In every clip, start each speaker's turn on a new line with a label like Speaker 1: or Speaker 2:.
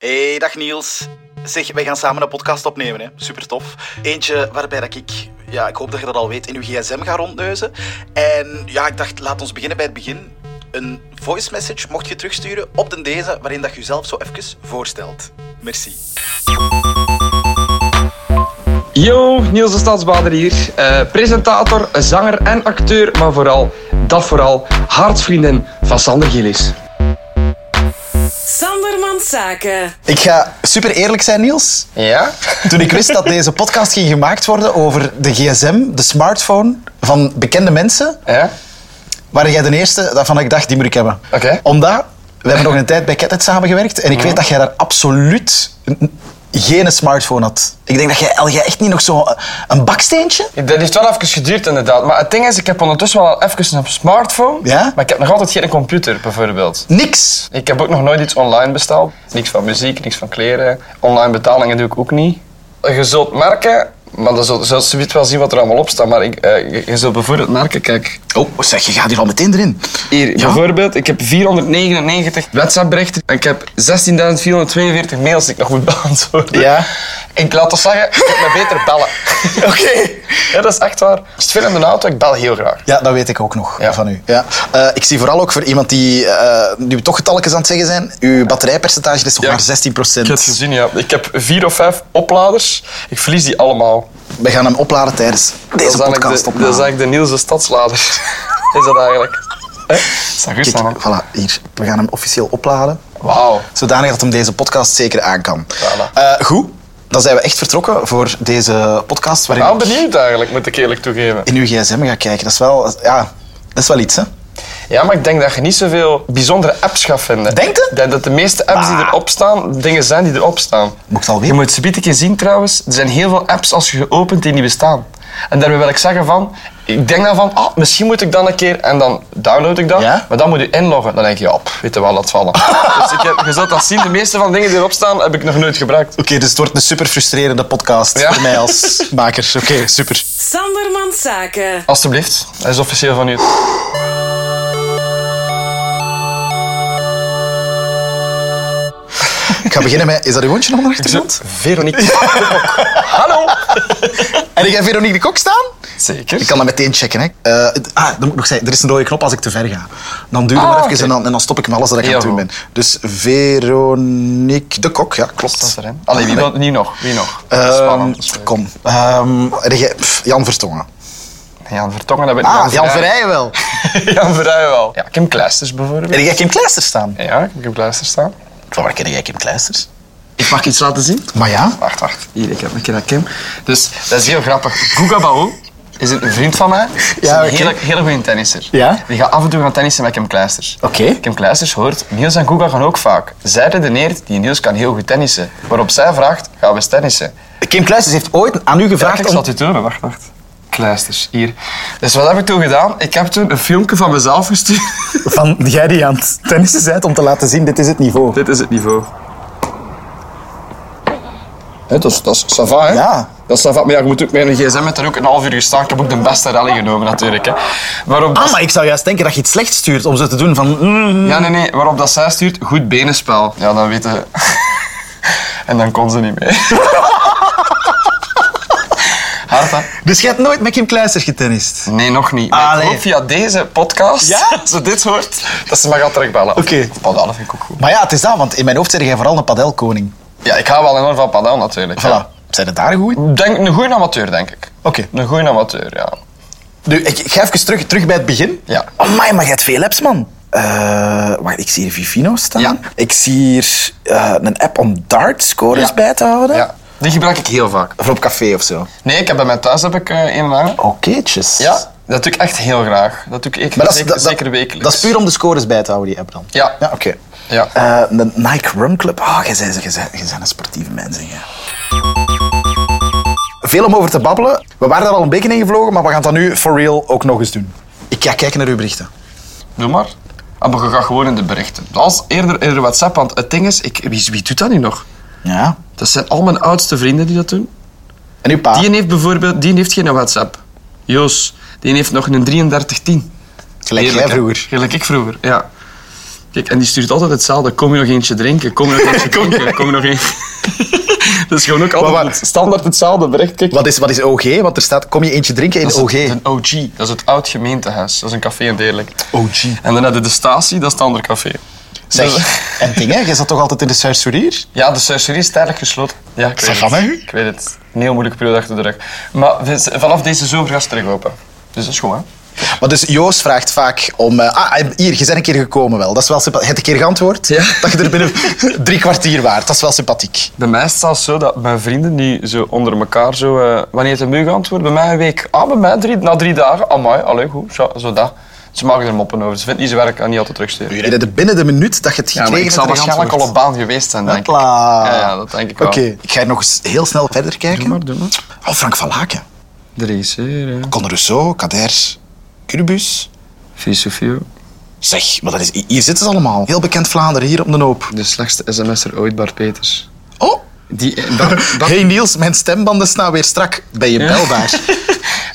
Speaker 1: Hey, dag Niels. Zeg, wij gaan samen een podcast opnemen, hè. Super tof. Eentje waarbij dat ik, ja, ik hoop dat je dat al weet, in uw gsm ga rondneuzen. En ja, ik dacht, laat ons beginnen bij het begin. Een voice message mocht je terugsturen op den deze, waarin dat je jezelf zo even voorstelt. Merci.
Speaker 2: Yo, Niels de Stadsbader hier. Eh, presentator, zanger en acteur, maar vooral, dat vooral, hartvriendin van Sander Gillis.
Speaker 3: Sandermans Zaken.
Speaker 4: Ik ga super eerlijk zijn, Niels.
Speaker 5: Ja?
Speaker 4: Toen ik wist dat deze podcast ging gemaakt worden over de gsm, de smartphone van bekende mensen,
Speaker 5: Ja?
Speaker 4: waren jij de eerste waarvan ik dacht, die moet ik hebben.
Speaker 5: Oké.
Speaker 4: Omdat, we hebben nog een tijd bij Catet samengewerkt en ik weet dat jij daar absoluut n- geen smartphone had. Ik denk dat jij, had jij echt niet nog zo een baksteentje?
Speaker 5: Dat heeft wel even geduurd inderdaad. Maar het ding is, ik heb ondertussen wel even een smartphone.
Speaker 4: Ja?
Speaker 5: Maar ik heb nog altijd geen computer bijvoorbeeld.
Speaker 4: Niks.
Speaker 5: Ik heb ook nog nooit iets online besteld. Niks van muziek, niks van kleren. Online betalingen doe ik ook niet. Je zult merken, maar dan zult, zult zoiets wel zien wat er allemaal op staat. Maar ik, eh, je- je zult bijvoorbeeld merken, kijk.
Speaker 4: Oh, zeg, je gaat hier al meteen erin.
Speaker 5: Hier,
Speaker 4: Ja?
Speaker 5: bijvoorbeeld, ik heb 499 WhatsApp-berichten. En ik heb 16.442 mails die ik nog moet beantwoorden.
Speaker 4: Ja.
Speaker 5: Ik laat toch zeggen, ik moet me beter bellen. Oké. Ja, dat is echt waar. Als het veel in de auto, ik bel heel graag.
Speaker 4: Ja, dat weet ik ook nog
Speaker 5: Ja.
Speaker 4: van u. Ja. Eh, ik zie vooral ook voor iemand die eh, nu toch getalletjes aan het zeggen zijn, uw batterijpercentage is nog
Speaker 5: Ja.
Speaker 4: maar 16
Speaker 5: Ik heb het gezien, ja. Ik heb vier of vijf opladers. Ik verlies die allemaal.
Speaker 4: We gaan hem opladen tijdens
Speaker 5: Dat is
Speaker 4: deze
Speaker 5: eigenlijk
Speaker 4: podcast
Speaker 5: de,
Speaker 4: opnemen.
Speaker 5: Dat is eigenlijk de Nielse stadslader. is dat eigenlijk? Hè? Is dat goed, Sander?
Speaker 4: Kijk, voilà, hier. We gaan hem officieel opladen.
Speaker 5: Wauw.
Speaker 4: Zodanig dat hem deze podcast zeker aan kan.
Speaker 5: Voilà.
Speaker 4: Eh, goed, dan zijn we echt vertrokken voor deze podcast. Waarin
Speaker 5: Nou,
Speaker 4: ik
Speaker 5: benieuwd eigenlijk, moet ik eerlijk toegeven.
Speaker 4: in uw gsm ga kijken. Dat is wel, ja, dat is wel iets, hè?
Speaker 5: Ja, maar ik denk dat je niet zoveel bijzondere apps gaat vinden.
Speaker 4: Denk je?
Speaker 5: Ik denk dat de meeste apps die
Speaker 4: Bah.
Speaker 5: erop staan, dingen zijn die erop staan.
Speaker 4: Moet ik het alweer?
Speaker 5: Je moet ze een beetje zien trouwens. Er zijn heel veel apps als je ze opent die niet bestaan. En daarmee wil ik zeggen van, ik denk dan van, ah, misschien moet ik dan een keer en dan download ik dat.
Speaker 4: Ja?
Speaker 5: Maar dan moet je inloggen. Dan denk je, ja, pff, weet je wel, laat vallen. dus ik heb, je zult dat zien, de meeste van de dingen die erop staan, heb ik nog nooit gebruikt.
Speaker 4: Oké, dus het wordt een super frustrerende podcast
Speaker 5: Ja.
Speaker 4: voor mij als maker. Oké, super.
Speaker 3: Sandermans Zaken.
Speaker 5: Alsjeblieft, dat is officieel van u.
Speaker 4: Ik ga beginnen met... Is dat uw hondje nog aan de achtergrond?
Speaker 5: Veronique. Hallo!
Speaker 4: En ik heb Veronique de Kok staan?
Speaker 5: Zeker.
Speaker 4: Ik kan dat meteen checken, hè. Eh, d- ah, dan moet ik nog zeggen, er is een rode knop als ik te ver ga. Dan duur ik
Speaker 5: Ah,
Speaker 4: maar even
Speaker 5: oké.
Speaker 4: en, dan, en dan stop ik met alles wat ik aan
Speaker 5: Heel
Speaker 4: het doen
Speaker 5: goed.
Speaker 4: ben. Dus Veronique de Kok, ja, klopt.
Speaker 5: Dat is erin. Allee,
Speaker 4: Ah,
Speaker 5: wie, wil- niet nog? Wie nog?
Speaker 4: Ehm,
Speaker 5: Spannend.
Speaker 4: kom. Ehm, en jij- pff, Jan Vertongen.
Speaker 5: Jan Vertongen, dat ben ik
Speaker 4: Ah, Jan Verrijen wel.
Speaker 5: Jan Verrij wel. Ja, Kim Kleisters bijvoorbeeld.
Speaker 4: En jij Kim Kleisters staan.
Speaker 5: Ja, ik heb Kim Kleisters staan.
Speaker 4: Van waar ken jij Kim Kleisters?
Speaker 5: Ik mag iets laten zien.
Speaker 4: Maar ja.
Speaker 5: Wacht, wacht. Hier, ik heb een keer naar Kim. Dus dat is heel grappig. Guga Bao is een vriend van mij. Is
Speaker 4: Ja,
Speaker 5: een
Speaker 4: oké.
Speaker 5: hele, hele goede tennisser.
Speaker 4: Ja.
Speaker 5: Die gaat af en toe gaan tennissen met Kim Kleisters.
Speaker 4: Oké.
Speaker 5: Kim Kleisters hoort, Niels en Guga gaan ook vaak. Zij redeneert, die Niels kan heel goed tennissen. Waarop zij vraagt, gaan we eens tennissen?
Speaker 4: Kim Kleisters heeft ooit aan u
Speaker 5: Ja,
Speaker 4: gevraagd
Speaker 5: kijk, ik zal het u tonen. Wacht, wacht. Kleisters, hier. Dus wat heb ik toen gedaan? Ik heb toen een filmpje van mezelf gestuurd.
Speaker 4: van jij die aan het tennissen bent om te laten zien, dit is het niveau.
Speaker 5: Dit is het niveau. Hè, dat is, dat is ça va, hè?
Speaker 4: Ja.
Speaker 5: Dat is ça va. Maar ja, je moet ook met een gsm met er ook een half uur gestaan. Ik heb ook de beste rally genomen, natuurlijk. Hè. Waarop dat...
Speaker 4: Ah, maar ik zou juist denken dat je het slecht stuurt om zo te doen van... mm.
Speaker 5: Ja, nee, nee. Waarop dat zij stuurt, goed benenspel. Ja, dan weten ze... en dan kon ze niet mee. Hard, hè?
Speaker 4: Dus je hebt nooit met Kim Kleisters getennist?
Speaker 5: Nee, nog niet. Maar ik
Speaker 4: Allee.
Speaker 5: hoop via deze podcast,
Speaker 4: Ja?
Speaker 5: als ze dit hoort, dat ze me gaat terugbellen.
Speaker 4: Oké.
Speaker 5: Of padellen vind ik ook goed.
Speaker 4: Maar ja, het is dat, want in mijn hoofd zeg jij vooral een padelkoning.
Speaker 5: Ja, ik hou wel enorm van padel, natuurlijk.
Speaker 4: Voilà.
Speaker 5: Ja.
Speaker 4: Zijn het daar goed? Oké.
Speaker 5: Denk, een goede amateur, denk ik. Een goede amateur, ja.
Speaker 4: Nu, ik, ik ga even terug, terug bij het begin.
Speaker 5: Ja.
Speaker 4: Oh maar jij hebt veel apps, man. Eh, wacht, ik zie hier Vivino staan.
Speaker 5: Ja.
Speaker 4: Ik zie hier eh, een app om dart scores
Speaker 5: Ja.
Speaker 4: bij te houden.
Speaker 5: Ja. Die gebruik ik heel vaak.
Speaker 4: Of op café of zo.
Speaker 5: Nee, ik heb bij mij thuis heb ik eh, een hangen.
Speaker 4: Okéetjes.
Speaker 5: Ja, dat doe ik echt heel graag. Dat doe ik echt
Speaker 4: Maar dat is,
Speaker 5: zeker,
Speaker 4: dat, dat-
Speaker 5: zeker wekelijks.
Speaker 4: dat is puur om de scores bij te houden, die app dan?
Speaker 5: Ja.
Speaker 4: Ja, oké.
Speaker 5: Ja.
Speaker 4: Eh, de Nike Run Club. Ah, jij bent, jij bent- jij bent een sportieve mens. hè, jij. Veel om over te babbelen. We waren daar al een beetje in gevlogen, maar we gaan dat nu for real ook nog eens doen. Ik ga kijken naar uw berichten.
Speaker 5: Doe maar. Ah, Maar je gaat gewoon in de berichten. Als eerder in de WhatsApp, want het ding is, ik, wie, wie doet dat nu nog?
Speaker 4: Ja.
Speaker 5: Dat zijn al mijn oudste vrienden die dat doen.
Speaker 4: En uw pa?
Speaker 5: Die heeft bijvoorbeeld, die heeft geen WhatsApp. Joos, die heeft nog een 3310.
Speaker 4: Gelijk jij
Speaker 5: Heerlijk, hè?
Speaker 4: vroeger.
Speaker 5: Gelijk ik vroeger, ja. Kijk, en die stuurt altijd hetzelfde. Kom je nog eentje drinken? Kom je nog eentje drinken? Kom je nog eentje... dat is gewoon ook altijd
Speaker 4: Maar waar-
Speaker 5: het standaard hetzelfde bericht. Kijk,
Speaker 4: Wat is, wat is OG? Want er staat, kom je eentje drinken in
Speaker 5: dat is
Speaker 4: OG.
Speaker 5: het- een OG. Dat is het oud gemeentehuis. Dat is een café in Deerlijk.
Speaker 4: OG.
Speaker 5: En dan heb je de statie, dat is het andere café.
Speaker 4: Zeg, en dingen, jij zat toch altijd in de Sursurier?
Speaker 5: Ja, de suicerie is tijdelijk gesloten. Ja, ik weet
Speaker 4: Zeg,
Speaker 5: het.
Speaker 4: van mij?
Speaker 5: Ik weet het. Een heel moeilijke periode achter de rug. Maar dus, vanaf deze zomer gaat het terug open. Dus dat is goed, hè?
Speaker 4: Maar dus Joost vraagt vaak om... eh, ah, hier, je bent een keer gekomen wel. Dat is wel sympathiek. Je hebt een keer geantwoord
Speaker 5: Ja.
Speaker 4: dat je er binnen drie kwartier waart. Dat is wel sympathiek.
Speaker 5: Bij mij is het zelfs zo dat mijn vrienden die zo onder elkaar zo... eh, wanneer het een moe antwoorden, bij mij een week. Ah, bij mij drie, na drie dagen. Amai, allee, goed. Zo, zo dat. Ze maken er moppen over. Ze vinden niet zo werk en niet altijd terugsturen.
Speaker 4: Je bent binnen de minuut dat je het
Speaker 5: Ja,
Speaker 4: gekregen
Speaker 5: maar ik
Speaker 4: hebt,
Speaker 5: zal
Speaker 4: er
Speaker 5: waarschijnlijk al op
Speaker 4: geantwoord.
Speaker 5: baan geweest zijn, denk ik.
Speaker 4: Hopla.
Speaker 5: Ja, ja, dat denk ik wel.
Speaker 4: Oké, ik ga hier nog eens heel snel verder
Speaker 5: Doe
Speaker 4: kijken.
Speaker 5: maar, doe maar.
Speaker 4: Oh, Frank van Laken.
Speaker 5: De regisseur, hè.
Speaker 4: Conor Rousseau, Kader, Cubus.
Speaker 5: Visofio.
Speaker 4: Zeg, maar dat is, hier zitten ze allemaal. Heel bekend Vlaanderen, hier op de hoop.
Speaker 5: De slechtste sms'er ooit, Bart Peters.
Speaker 4: Oh,
Speaker 5: Die... eh, Dat, dat-
Speaker 4: hey Niels, mijn stembanden staan weer strak. Ben je belbaar?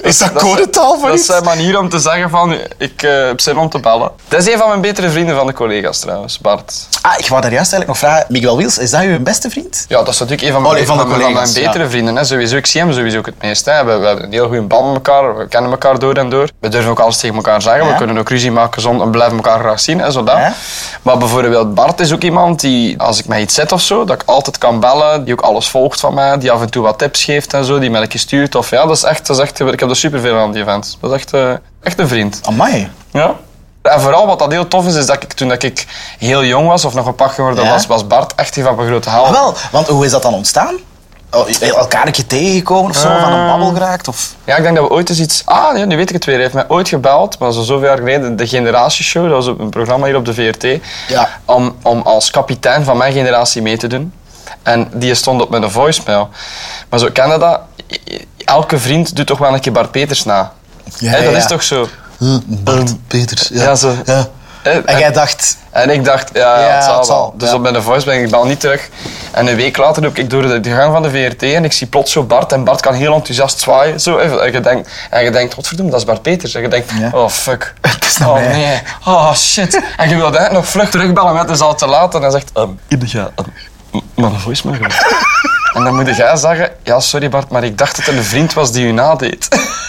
Speaker 4: is dat codetaal voor
Speaker 5: Dat
Speaker 4: iets?
Speaker 5: is zijn manier om te zeggen van, ik eh, heb zin om te bellen. Dat is een van mijn betere vrienden van de collega's trouwens, Bart.
Speaker 4: Ah, ik wou daar juist eigenlijk nog vragen. Miguel Wiels, is dat uw beste vriend?
Speaker 5: Ja, dat is natuurlijk een van mijn,
Speaker 4: Oh, nee, van de
Speaker 5: van mijn-
Speaker 4: collega's,
Speaker 5: van mijn betere vrienden. Hè. Sowieso, ik zie hem sowieso ook het meest. Hè. We, we hebben een heel goede band met elkaar, we kennen elkaar door en door. We durven ook alles tegen elkaar zeggen,
Speaker 4: Ja.
Speaker 5: we kunnen ook ruzie maken zonder, en blijven elkaar graag zien en zodat.
Speaker 4: Ja.
Speaker 5: Maar bijvoorbeeld Bart is ook iemand die, als ik mij iets zet of zo, dat ik altijd kan bellen, die ook alles volgt van mij, die af en toe wat tips geeft en zo, die mij een keer stuurt. Of, ja, dat is echt, dat is echt, ik heb er superveel aan die event. Dat is echt, eh, echt een vriend.
Speaker 4: Amai.
Speaker 5: Ja. En vooral wat dat heel tof is, is dat ik toen ik heel jong was, of nog een pak geworden
Speaker 4: Ja.
Speaker 5: was, was Bart echt een van mijn grote
Speaker 4: Ah,
Speaker 5: helden.
Speaker 4: wel, want hoe is dat dan ontstaan? Oh, elkaar een keer tegengekomen of zo, van een
Speaker 5: Eh.
Speaker 4: babbel geraakt? Of...
Speaker 5: Ja, ik denk dat we ooit eens iets... Ah, nee, nu weet ik het weer. Hij heeft mij ooit gebeld, maar zo zoveel jaar geleden, de Generatieshow, dat was op een programma hier op de VRT,
Speaker 4: Ja.
Speaker 5: om, om als kapitein van mijn generatie mee te doen. En die stond op met een voicemail. Maar zo ken je dat? Elke vriend doet toch wel een keer Bart Peters na.
Speaker 4: Ja,
Speaker 5: Hè, dat
Speaker 4: ja,
Speaker 5: is
Speaker 4: ja.
Speaker 5: toch zo?
Speaker 4: Eh, Bart Peters. Ja,
Speaker 5: ja, zo.
Speaker 4: ja.
Speaker 5: Eh,
Speaker 4: En jij dacht,
Speaker 5: En ik dacht, ja,
Speaker 4: Ja,
Speaker 5: het zal,
Speaker 4: het zal,
Speaker 5: wel. Dus
Speaker 4: ja.
Speaker 5: op mijn voice ben ik bel niet terug. En een week later loop ik door de, de gang van de VRT en ik zie plots zo Bart. En Bart kan heel enthousiast zwaaien. Zo even. En je denkt, en je denkt godverdomme, dat is Bart Peters. En je denkt,
Speaker 4: Ja.
Speaker 5: oh fuck.
Speaker 4: Het is naar
Speaker 5: oh
Speaker 4: mij.
Speaker 5: nee, oh shit. En je wilt eigenlijk nog vlug terugbellen, maar het is al te laat. En hij zegt, ehm, heb je ehm, maar een voicemail gehad? En dan moet jij zeggen, ja sorry Bart, maar ik dacht dat het een vriend was die u nadeed.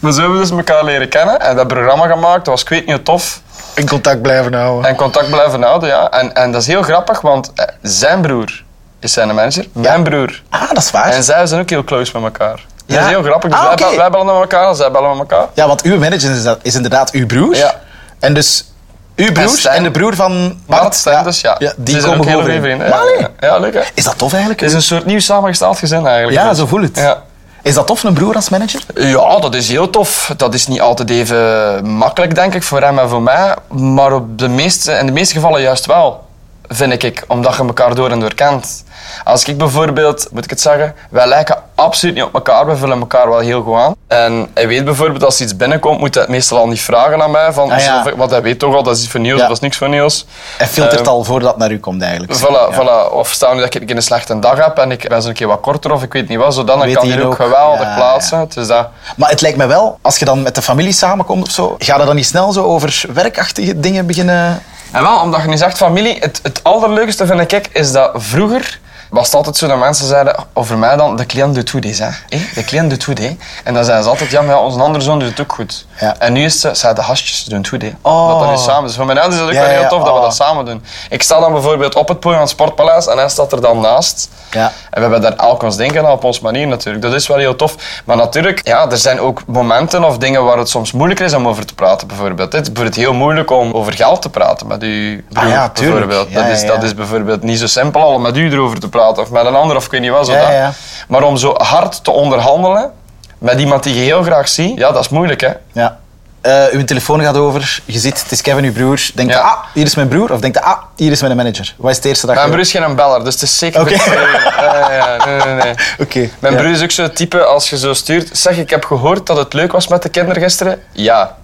Speaker 5: Maar zo hebben we dus elkaar leren kennen en dat programma gemaakt. Dat was ik weet niet hoe tof.
Speaker 4: in contact blijven houden.
Speaker 5: En contact blijven houden, ja. En, en dat is heel grappig, want eh, zijn broer is zijn manager, mijn broer.
Speaker 4: Ah, dat is waar.
Speaker 5: En zij zijn ook heel close met elkaar.
Speaker 4: Ja?
Speaker 5: Dat is heel grappig. Dus
Speaker 4: Ah,
Speaker 5: wij,
Speaker 4: oké.
Speaker 5: bel- wij bellen met elkaar en zij bellen met elkaar.
Speaker 4: Ja, want uw manager is, dat- is inderdaad uw broer.
Speaker 5: Ja.
Speaker 4: En dus uw
Speaker 5: En
Speaker 4: broer en,
Speaker 5: Stijn.
Speaker 4: de broer van Bart.
Speaker 5: Bart, Stijn, dus ja.
Speaker 4: die
Speaker 5: zijn
Speaker 4: komen
Speaker 5: ook heel
Speaker 4: gewoon
Speaker 5: goede
Speaker 4: in.
Speaker 5: vrienden.
Speaker 4: Maar
Speaker 5: Ja,
Speaker 4: allee,
Speaker 5: ja. ja, leuk hè.
Speaker 4: Is dat tof eigenlijk?
Speaker 5: Het is een soort nieuw samengesteld gezin eigenlijk.
Speaker 4: Ja,
Speaker 5: Dus-
Speaker 4: zo voel het.
Speaker 5: Ja.
Speaker 4: Is dat tof, een broer als manager?
Speaker 5: Ja, dat is heel tof. Dat is niet altijd even makkelijk, denk ik, voor hem en voor mij. Maar op de meeste, in de meeste gevallen juist wel, vind ik. Omdat je elkaar door en door kent. Als ik bijvoorbeeld, moet ik het zeggen, wij lijken absoluut niet op elkaar. We vullen elkaar wel heel goed aan. En hij weet bijvoorbeeld, als iets binnenkomt, moet hij het meestal al niet vragen aan mij. Van,
Speaker 4: Ah, ja.
Speaker 5: want hij weet toch al, dat is iets voor nieuws,
Speaker 4: Ja.
Speaker 5: dat is niks voor nieuws.
Speaker 4: Hij filtert
Speaker 5: Eh,
Speaker 4: al voordat het naar u komt eigenlijk.
Speaker 5: Voilà,
Speaker 4: Ja.
Speaker 5: voilà. Of stel nu dat ik een keer een slechte dag heb en ik ben zo'n keer wat korter of ik weet niet wat, zodan, dan
Speaker 4: Weet
Speaker 5: kan
Speaker 4: hij
Speaker 5: hij ook
Speaker 4: ook.
Speaker 5: geweldig
Speaker 4: Ja,
Speaker 5: plaatsen. Dus dat,
Speaker 4: Maar het lijkt me wel, als je dan met de familie samenkomt of zo, ga je dan niet snel zo over werkachtige dingen beginnen...
Speaker 5: En wel, omdat je nu zegt familie, het, het allerleukste vind ik is dat vroeger was het altijd zo dat mensen zeiden over mij dan, de cliënt doet goed hè. Hé, De cliënt doet goed hè. En dan zeiden ze altijd, ja, maar ja, onze andere zoon doet het ook goed.
Speaker 4: Ja.
Speaker 5: En nu is het, ze de hasjes doen het goed hè.
Speaker 4: Oh.
Speaker 5: Dat dat nu samen is. Voor mijn ouders is het ook
Speaker 4: Ja,
Speaker 5: wel
Speaker 4: ja,
Speaker 5: heel tof dat we
Speaker 4: oh.
Speaker 5: dat samen doen. Ik sta dan bijvoorbeeld op het podium aan het Sportpaleis en hij staat er dan naast.
Speaker 4: Ja.
Speaker 5: En we hebben daar elk ons denken aan op onze manier natuurlijk. Dat is wel heel tof. Maar natuurlijk, ja, er zijn ook momenten of dingen waar het soms moeilijker is om over te praten bijvoorbeeld. Het is bijvoorbeeld heel moeilijk om over geld te praten met uw
Speaker 4: Ah ja, tuurlijk.
Speaker 5: bijvoorbeeld.
Speaker 4: Ja,
Speaker 5: dat, is,
Speaker 4: ja, ja.
Speaker 5: dat is bijvoorbeeld niet zo simpel al om met u erover te praten of met een ander of ik weet niet wat.
Speaker 4: Ja,
Speaker 5: Zodat.
Speaker 4: ja.
Speaker 5: Maar om zo hard te onderhandelen met iemand die je heel graag ziet, ja, dat is moeilijk hè.
Speaker 4: Ja. Eh, uw telefoon gaat over, je ziet, het is Kevin, uw broer. Denk je,
Speaker 5: Ja.
Speaker 4: ah, hier is mijn broer. Of denk je, ah, hier is mijn manager. Wat is het eerste dat
Speaker 5: Mijn
Speaker 4: je...
Speaker 5: broer is geen beller, dus het is zeker...
Speaker 4: Oké.
Speaker 5: niet voor u. Ja, ja, ja. nee, nee, nee.
Speaker 4: Oké.
Speaker 5: Mijn
Speaker 4: ja.
Speaker 5: broer is ook zo'n type, als je zo stuurt, zeg ik heb gehoord dat het leuk was met de kinderen gisteren. Ja.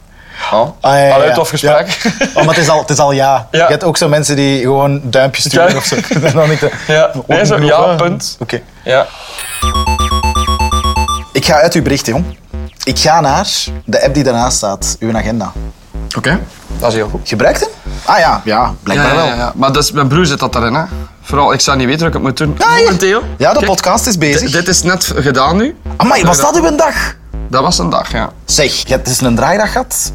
Speaker 5: Oh.
Speaker 4: Ah, ja, ja,
Speaker 5: Allee,
Speaker 4: ja.
Speaker 5: tof gesprek.
Speaker 4: Ja. Oh, maar het is al, het is al ja.
Speaker 5: Ja.
Speaker 4: Je hebt ook zo mensen die gewoon duimpjes sturen
Speaker 5: Ja.
Speaker 4: of zo. En dan denk je,
Speaker 5: Ja. Nee, zo,
Speaker 4: oh,
Speaker 5: ja,
Speaker 4: oh,
Speaker 5: punt.
Speaker 4: Oké.
Speaker 5: Ja.
Speaker 4: Ik ga uit uw berichten, jong. Ik ga naar de app die daarnaast staat, uw agenda.
Speaker 5: Dat is heel goed.
Speaker 4: Gebruikt hem? Ah ja, ja blijkbaar
Speaker 5: ja, ja,
Speaker 4: wel.
Speaker 5: ja, ja. Maar dus, mijn broer zit dat daarin, hè. Vooral, ik zou niet weten hoe ik het moet doen.
Speaker 4: Ah, ja.
Speaker 5: Momenteel.
Speaker 4: Ja, de
Speaker 5: Kijk,
Speaker 4: podcast is bezig.
Speaker 5: d- Dit is net gedaan nu.
Speaker 4: Amai, was dat uw dag?
Speaker 5: Dat was een dag, ja.
Speaker 4: Zeg, je hebt dus een draaidag gehad.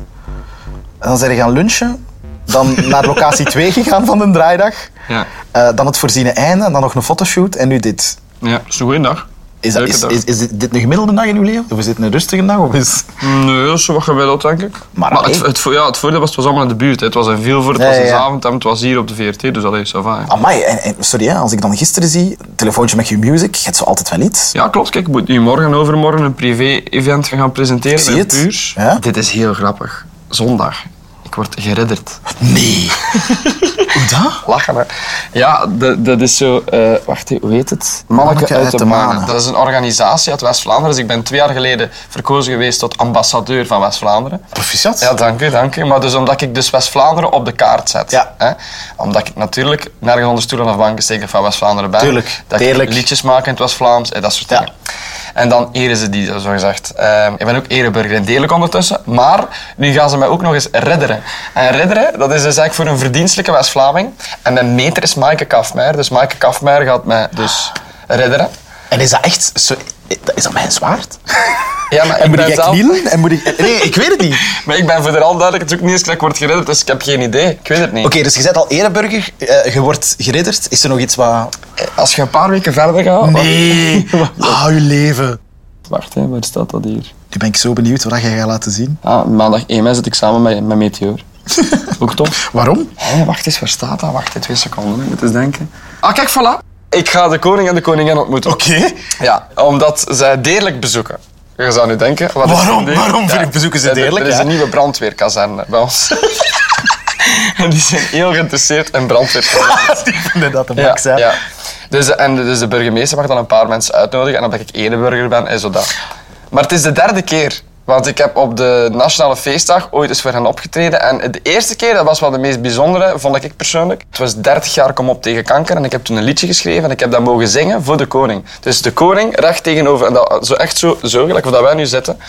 Speaker 4: En dan zijn we gaan lunchen. Dan naar locatie 2 gegaan van de draaidag.
Speaker 5: Ja,
Speaker 4: Eh, dan het voorziene einde. En dan nog een fotoshoot. En nu dit.
Speaker 5: ja. is een goede dag.
Speaker 4: Is, dat,
Speaker 5: Leuke
Speaker 4: is,
Speaker 5: dag.
Speaker 4: is, is dit- dit een gemiddelde dag in uw leven? Of is dit een rustige dag? Of is...
Speaker 5: Nee, dat is wat gemiddeld, denk ik.
Speaker 4: Maar
Speaker 5: het,
Speaker 4: allee.
Speaker 5: het, vo- ja, het voordeel was, het was allemaal in de buurt. hè. Het was in Vilvoorde, het was
Speaker 4: Ja,
Speaker 5: in
Speaker 4: ja, ja.
Speaker 5: Zaventem, het was hier op de VRT, dus allee, ça va. hè.
Speaker 4: Amai, en, en- sorry, hè, als ik dan gisteren zie, telefoontje met je music, je hebt zo altijd wel iets.
Speaker 5: Ja, klopt. Kijk, ik moet nu morgen en overmorgen een privé-event gaan presenteren.
Speaker 4: Ik zie
Speaker 5: in
Speaker 4: het.
Speaker 5: Puurs.
Speaker 4: Ja.
Speaker 5: Dit is heel grappig. Zondag. Ik word geridderd.
Speaker 4: Nee. Hoe dat?
Speaker 5: Lachen, hè. Ja, de- dat is zo... eh, wacht, hè, hoe heet het?
Speaker 4: Manneke uit de Manen.
Speaker 5: Dat is een organisatie uit West-Vlaanderen. Dus ik ben twee jaar geleden verkozen geweest tot ambassadeur van West-Vlaanderen.
Speaker 4: Proficiat.
Speaker 5: Ja, dank u, dank u. Maar dus omdat ik dus West-Vlaanderen op de kaart zet.
Speaker 4: Ja.
Speaker 5: Hè? Omdat ik natuurlijk nergens onder stoelen of banken zeker van West-Vlaanderen ben.
Speaker 4: Tuurlijk,
Speaker 5: Dat
Speaker 4: deerlijk.
Speaker 5: ik liedjes maak in het West-Vlaams en dat soort
Speaker 4: Ja.
Speaker 5: dingen. En dan eren ze die, zo gezegd. Ehm, ik ben ook ereburger in Deerlijk ondertussen. Maar nu gaan ze mij ook nog eens redderen. En redderen, dat is dus eigenlijk voor een verdienstelijke West-Vlaming. En mijn meter is Maaike Kafmeijer. Dus Maaike Kafmeijer gaat mij dus redderen.
Speaker 4: En is dat echt... Zo, is dat mijn zwaard?
Speaker 5: Ja, maar ik
Speaker 4: En moet
Speaker 5: ben
Speaker 4: ik
Speaker 5: zelf-
Speaker 4: knielen? En moet ik, nee, ik weet het niet. Oké,
Speaker 5: Maar ik ben voor de al duidelijk, het is ook niet eens dat ik word geredderd, dus ik heb geen idee. Ik weet het niet.
Speaker 4: dus je bent al ereburger, eh, je wordt geridderd. Is er nog iets wat...
Speaker 5: Als je een paar weken verder gaat.
Speaker 4: Nee, ah, uw leven.
Speaker 5: Wacht, hè, waar staat dat hier?
Speaker 4: Nu ben ik zo benieuwd wat jij gaat laten zien.
Speaker 5: Ah, maandag 1 mei zit ik samen met, met Meteor. Ook tof.
Speaker 4: Waarom?
Speaker 5: Hé, wacht eens, waar staat dat? Wacht, hè, twee seconden, hè, moet eens denken. Ah, kijk, voilà. Ik ga de koning en de koningin ontmoeten.
Speaker 4: Oké.
Speaker 5: Ja, omdat zij deerlijk bezoeken. Je zou nu denken, wat is
Speaker 4: Waarom?
Speaker 5: een Deerlijk?
Speaker 4: Waarom vind ik bezoeken ze
Speaker 5: er-
Speaker 4: Deerlijk,
Speaker 5: Er is
Speaker 4: ja?
Speaker 5: een nieuwe brandweerkazerne bij ons. en die zijn heel geïnteresseerd in brandweerkazernes.
Speaker 4: Ik vind dat de max, hè.
Speaker 5: ja. Dus, eh, en, de- dus de burgemeester mag dan een paar mensen uitnodigen. En omdat ik ene burger ben, is zo dat. Maar het is de derde keer. Want ik heb op de Nationale Feestdag ooit eens voor hen opgetreden. En de eerste keer, dat was wel de meest bijzondere, vond ik persoonlijk. Het was 30 jaar kom op tegen kanker. En ik heb toen een liedje geschreven en ik heb dat mogen zingen voor de koning. Dus de koning recht tegenover. En dat, zo echt zo, zo gelijk waar wij nu zitten.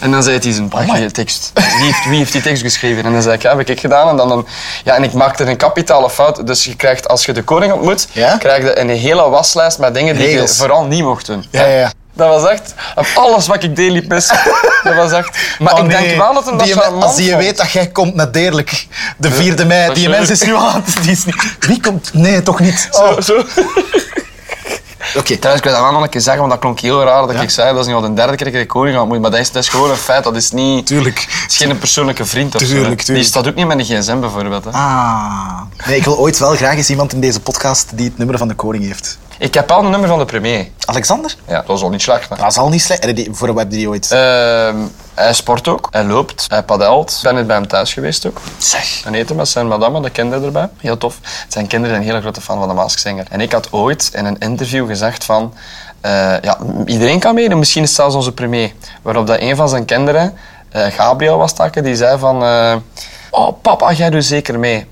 Speaker 5: En dan zei hij zijn prachtige tekst. Wie heeft, wie heeft die tekst geschreven? En dan zei ik, ja, heb ik gedaan. En, dan, dan, ja, en ik maakte een kapitale fout. Dus je krijgt, als je de koning ontmoet,
Speaker 4: Ja?
Speaker 5: krijg je een hele waslijst met dingen die
Speaker 4: Regels.
Speaker 5: je vooral niet mocht doen.
Speaker 4: Ja, ja, ja.
Speaker 5: Dat was echt... Op alles wat ik deed liep mis. Dat was echt... Maar
Speaker 4: Oh,
Speaker 5: ik denk
Speaker 4: nee.
Speaker 5: wel dat hem dat
Speaker 4: Die
Speaker 5: charmant
Speaker 4: men- Als je
Speaker 5: vond.
Speaker 4: weet dat jij komt naar Deerlijk, de 4e mei, die
Speaker 5: natuurlijk.
Speaker 4: mens is nu aan het... Die is niet... Wie komt... Nee, toch niet. Oh,
Speaker 5: Zo, zo.
Speaker 4: Oké.
Speaker 5: Trouwens, ik wil dat wel nog een keer zeggen, want dat klonk heel raar dat ik zei dat is nu al de derde keer dat ik de koning had moeten. Maar dat is, dat is gewoon een feit, dat is niet...
Speaker 4: Tuurlijk.
Speaker 5: Het is geen persoonlijke vriend of zo, hè.
Speaker 4: Tuurlijk, tuurlijk.
Speaker 5: Die staat ook niet met een gsm bijvoorbeeld. Hè.
Speaker 4: Ah. Nee, ik wil ooit wel graag eens iemand in deze podcast die het nummer van de koning heeft.
Speaker 5: Ik heb al een nummer van de premier.
Speaker 4: Alexander?
Speaker 5: Ja, dat was al niet slecht. hè.
Speaker 4: Dat is al niet slecht. Eh, die- Voor een web die ooit...
Speaker 5: Ehm, hij sport ook, hij loopt, hij padelt. Ik ben net bij hem thuis geweest ook.
Speaker 4: Zeg.
Speaker 5: Een eten met zijn madame, de kinderen erbij. Heel tof. Zijn kinderen zijn een hele grote fan van de Maskzinger. En ik had ooit in een interview gezegd van... eh, ja, m- iedereen kan meedoen, misschien is het zelfs onze premier. Waarop dat een van zijn kinderen, eh, Gabriel was takken, die zei van... eh, oh papa, jij doet zeker mee.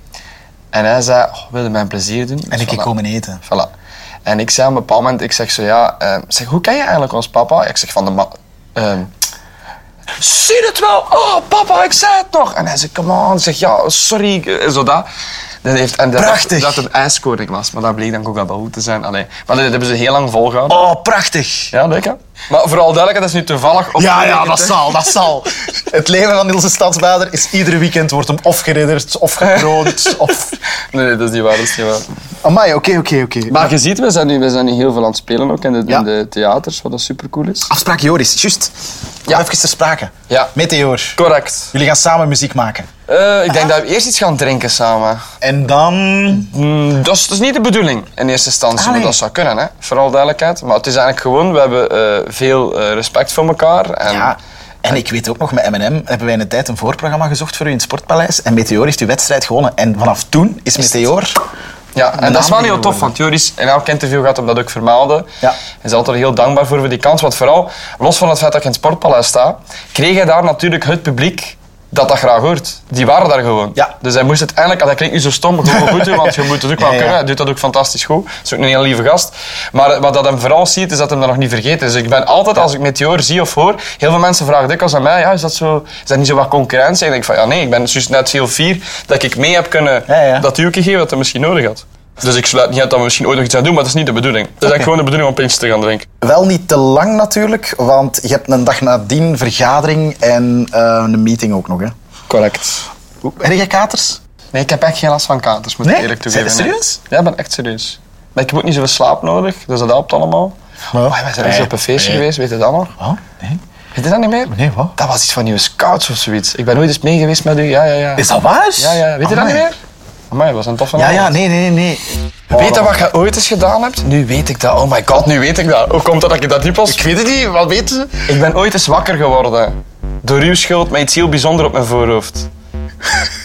Speaker 5: En hij zei, oh, wilde mij een plezier doen.
Speaker 4: En
Speaker 5: Dus
Speaker 4: ik
Speaker 5: voilà.
Speaker 4: keer komen eten.
Speaker 5: Voilà. En ik zei op een bepaald moment, ik zeg zo, ja, eh, zeg, hoe ken je eigenlijk ons papa? Ik zeg van de ma... ehm, Zie het wel? Oh, papa, ik zei het nog. En hij zegt, come on. Ik zeg, ja, sorry, eh, zo dat. Dat heeft, en dat,
Speaker 4: Prachtig.
Speaker 5: Dat het een ijskoning was, maar dat bleek dan ook wel dat goed te zijn. Allee. Maar dat hebben ze heel lang volgehouden.
Speaker 4: Oh, prachtig.
Speaker 5: Ja, leuk hè? Maar vooral duidelijk, dat is nu toevallig op
Speaker 4: Ja, ja, dat zal, dat zal. Het leven van Nielse Stadsbader is iedere weekend wordt hem of geridderd, of gekroond, of...
Speaker 5: Nee, nee, dat is niet waar, dat is niet waar.
Speaker 4: Amai, oké, oké, oké.
Speaker 5: Maar je ziet, we zijn nu, we zijn nu heel veel aan het spelen ook in de,
Speaker 4: Ja.
Speaker 5: in de theaters, wat dat supercool is.
Speaker 4: Afspraak Joris, juist. Ja.
Speaker 5: Ja.
Speaker 4: Even ter sprake.
Speaker 5: Ja.
Speaker 4: Meteor,
Speaker 5: Correct.
Speaker 4: jullie gaan samen muziek maken.
Speaker 5: Eh, ik denk dat we eerst iets gaan drinken samen.
Speaker 4: En dan...
Speaker 5: Mm, dat, is, dat is niet de bedoeling in eerste instantie,
Speaker 4: Ah, nee.
Speaker 5: maar dat zou kunnen, hè? vooral duidelijkheid. Maar het is eigenlijk gewoon, we hebben eh, veel eh, respect voor elkaar. En,
Speaker 4: Ja. En ik weet ook nog, met M&M hebben wij een tijd een voorprogramma gezocht voor u in het Sportpaleis. En Meteor heeft die wedstrijd gewonnen. En vanaf toen is, Meteor...
Speaker 5: ja, en
Speaker 4: naam
Speaker 5: dat is wel
Speaker 4: die
Speaker 5: heel tof,
Speaker 4: geworden.
Speaker 5: want Joris in elk interview gaat hem dat ook vermelden.
Speaker 4: Ja.
Speaker 5: Hij is altijd heel dankbaar voor voor die kans. Want vooral, los van het feit dat ik in het Sportpaleis sta, kreeg hij daar natuurlijk het publiek dat dat graag hoort. Die waren daar gewoon.
Speaker 4: Ja.
Speaker 5: Dus hij moest het eigenlijk, en dat klinkt nu zo stom, gewoon goed doen, want je moet het ook wel
Speaker 4: Ja, ja.
Speaker 5: kunnen. Hij doet dat ook fantastisch goed. Dat is ook een heel lieve gast. Maar eh, wat dat hem vooral ziet, is dat hem dat nog niet vergeten is. Dus ik ben altijd, als ik Meteor zie of hoor, heel veel mensen vragen dikwijls aan mij, ja, is, dat zo, is dat niet zo wat concurrentie? En ik denk van, ja nee, ik ben juist net heel fier dat ik mee heb kunnen
Speaker 4: Ja, ja.
Speaker 5: dat duwtje geven dat hij misschien nodig had. Dus ik sluit niet uit dat we misschien ooit nog iets aan doen, maar dat is niet de bedoeling. Het is eigenlijk gewoon de bedoeling om pintjes te gaan drinken.
Speaker 4: Wel niet te lang natuurlijk, want je hebt een dag nadien vergadering en eh, een meeting ook nog. Hè.
Speaker 5: Correct.
Speaker 4: Hoe- Heb jij katers?
Speaker 5: Nee, ik heb echt geen last van katers, moet
Speaker 4: Nee?
Speaker 5: ik eerlijk toegeven.
Speaker 4: Zijn je serieus?
Speaker 5: Nee. Ja, ik ben echt serieus. Maar ik heb ook niet zoveel slaap nodig, dus dat helpt allemaal.
Speaker 4: Ja.
Speaker 5: Oh, we zijn eens
Speaker 4: Nee.
Speaker 5: op een feestje
Speaker 4: Nee.
Speaker 5: geweest, weet je dat nog?
Speaker 4: Oh, nee.
Speaker 5: Weet je dat niet meer?
Speaker 4: Nee, wat?
Speaker 5: Dat was iets van nieuwe scouts of zoiets. Ik ben ooit eens mee geweest met u, ja, ja, ja.
Speaker 4: Is dat waar?
Speaker 5: Ja, ja, weet je dat
Speaker 4: Amai.
Speaker 5: niet meer? Amai, dat was een toffe
Speaker 4: Ja, ja,
Speaker 5: avond.
Speaker 4: nee, nee, nee. Oh.
Speaker 5: Weet je wat je ooit eens gedaan hebt? Nu weet ik dat. Oh my god, nu weet ik dat. Hoe komt dat dat ik dat niet pas...
Speaker 4: Ik weet het niet, wat weten ze?
Speaker 5: Ik ben ooit eens wakker geworden. Door uw schuld met iets heel bijzonders op mijn voorhoofd.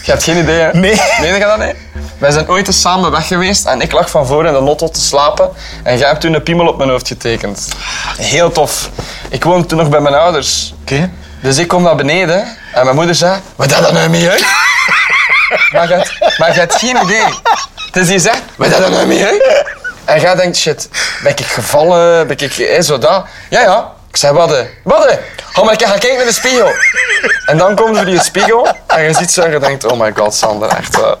Speaker 5: Je hebt geen idee, hè?
Speaker 4: Nee.
Speaker 5: Weet je dat niet? Wij zijn ooit eens samen weg geweest en ik lag van voor in de lotto te slapen. En jij hebt toen een piemel op mijn hoofd getekend. Heel tof. Ik woonde toen nog bij mijn ouders.
Speaker 4: Oké.
Speaker 5: Dus ik kom naar beneden en mijn moeder zei: Wat dat dan nou mee uit? maar, je hebt, maar je hebt geen idee. Dus die zegt: Wat dat dan nou mee uit? En jij denkt: Shit, ben ik gevallen? Ben ik eh, zo dat? Ja, ja. Ik zei: Wat? hè? Wat? hè? Ga maar gaan kijken naar de spiegel. En dan komt er die spiegel en je ziet zo en je denkt: Oh my god, Sander, echt. eh."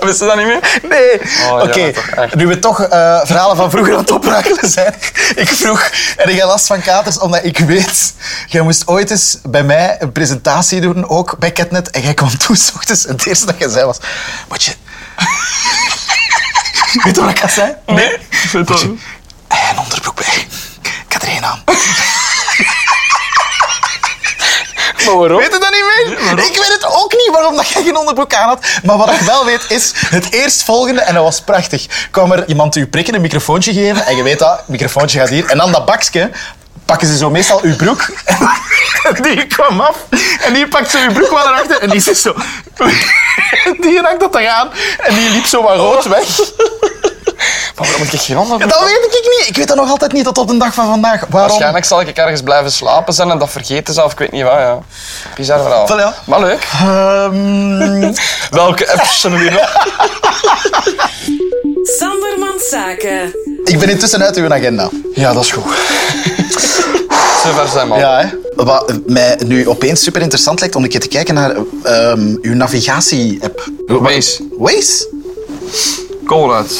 Speaker 5: Wist je dat niet meer?
Speaker 4: Nee.
Speaker 5: Oh,
Speaker 4: Oké,
Speaker 5: ja, toch, echt.
Speaker 4: nu we toch eh, verhalen van vroeger aan het oprakelen zijn. Ik vroeg, heb jij last van katers? Omdat ik weet, jij moest ooit eens bij mij een presentatie doen, ook bij Catnet. En jij kwam toen, s ochtends, en het eerste dat jij zei was... Matje... weet je wat ik had zei?
Speaker 5: Nee. Ik vind dat-
Speaker 4: En een onderbroek bij. Ik had er één aan.
Speaker 5: Maar waarom?
Speaker 4: Weet je dat niet meer? ik weet het ook niet waarom dat jij geen onderbroek aan had. Maar wat ik wel weet is, het eerstvolgende, en dat was prachtig, kwam er iemand u prikken, een microfoontje geven. En je weet dat, microfoontje gaat hier. En dan dat bakje, pakken ze zo meestal uw broek. En die kwam af en die pakt zo uw broek wel erachter. En die zit zo... Die raakt dat eraan en die liep zo wat rood weg.
Speaker 5: Maar waarom heb ik geen handen?
Speaker 4: Dat weet ik niet. Ik weet dat nog altijd niet tot op de dag van vandaag. Waarom?
Speaker 5: Waarschijnlijk zal ik ergens blijven slapen zijn en dat vergeten zelf, ik weet niet waar. Ja. Bizar verhaal.
Speaker 4: Wel, ja.
Speaker 5: Maar leuk.
Speaker 4: Ehm,
Speaker 5: Welke apps zijn er nu nog?
Speaker 3: Sandermans Zaken.
Speaker 4: ik ben intussen uit uw agenda.
Speaker 5: Ja, dat is goed. Zover zijn we al.
Speaker 4: Ja, hè? Wat mij nu opeens super interessant lijkt om een keer te kijken naar ehm, uw navigatie-app.
Speaker 5: Wees,
Speaker 4: Waze?
Speaker 5: kool uit.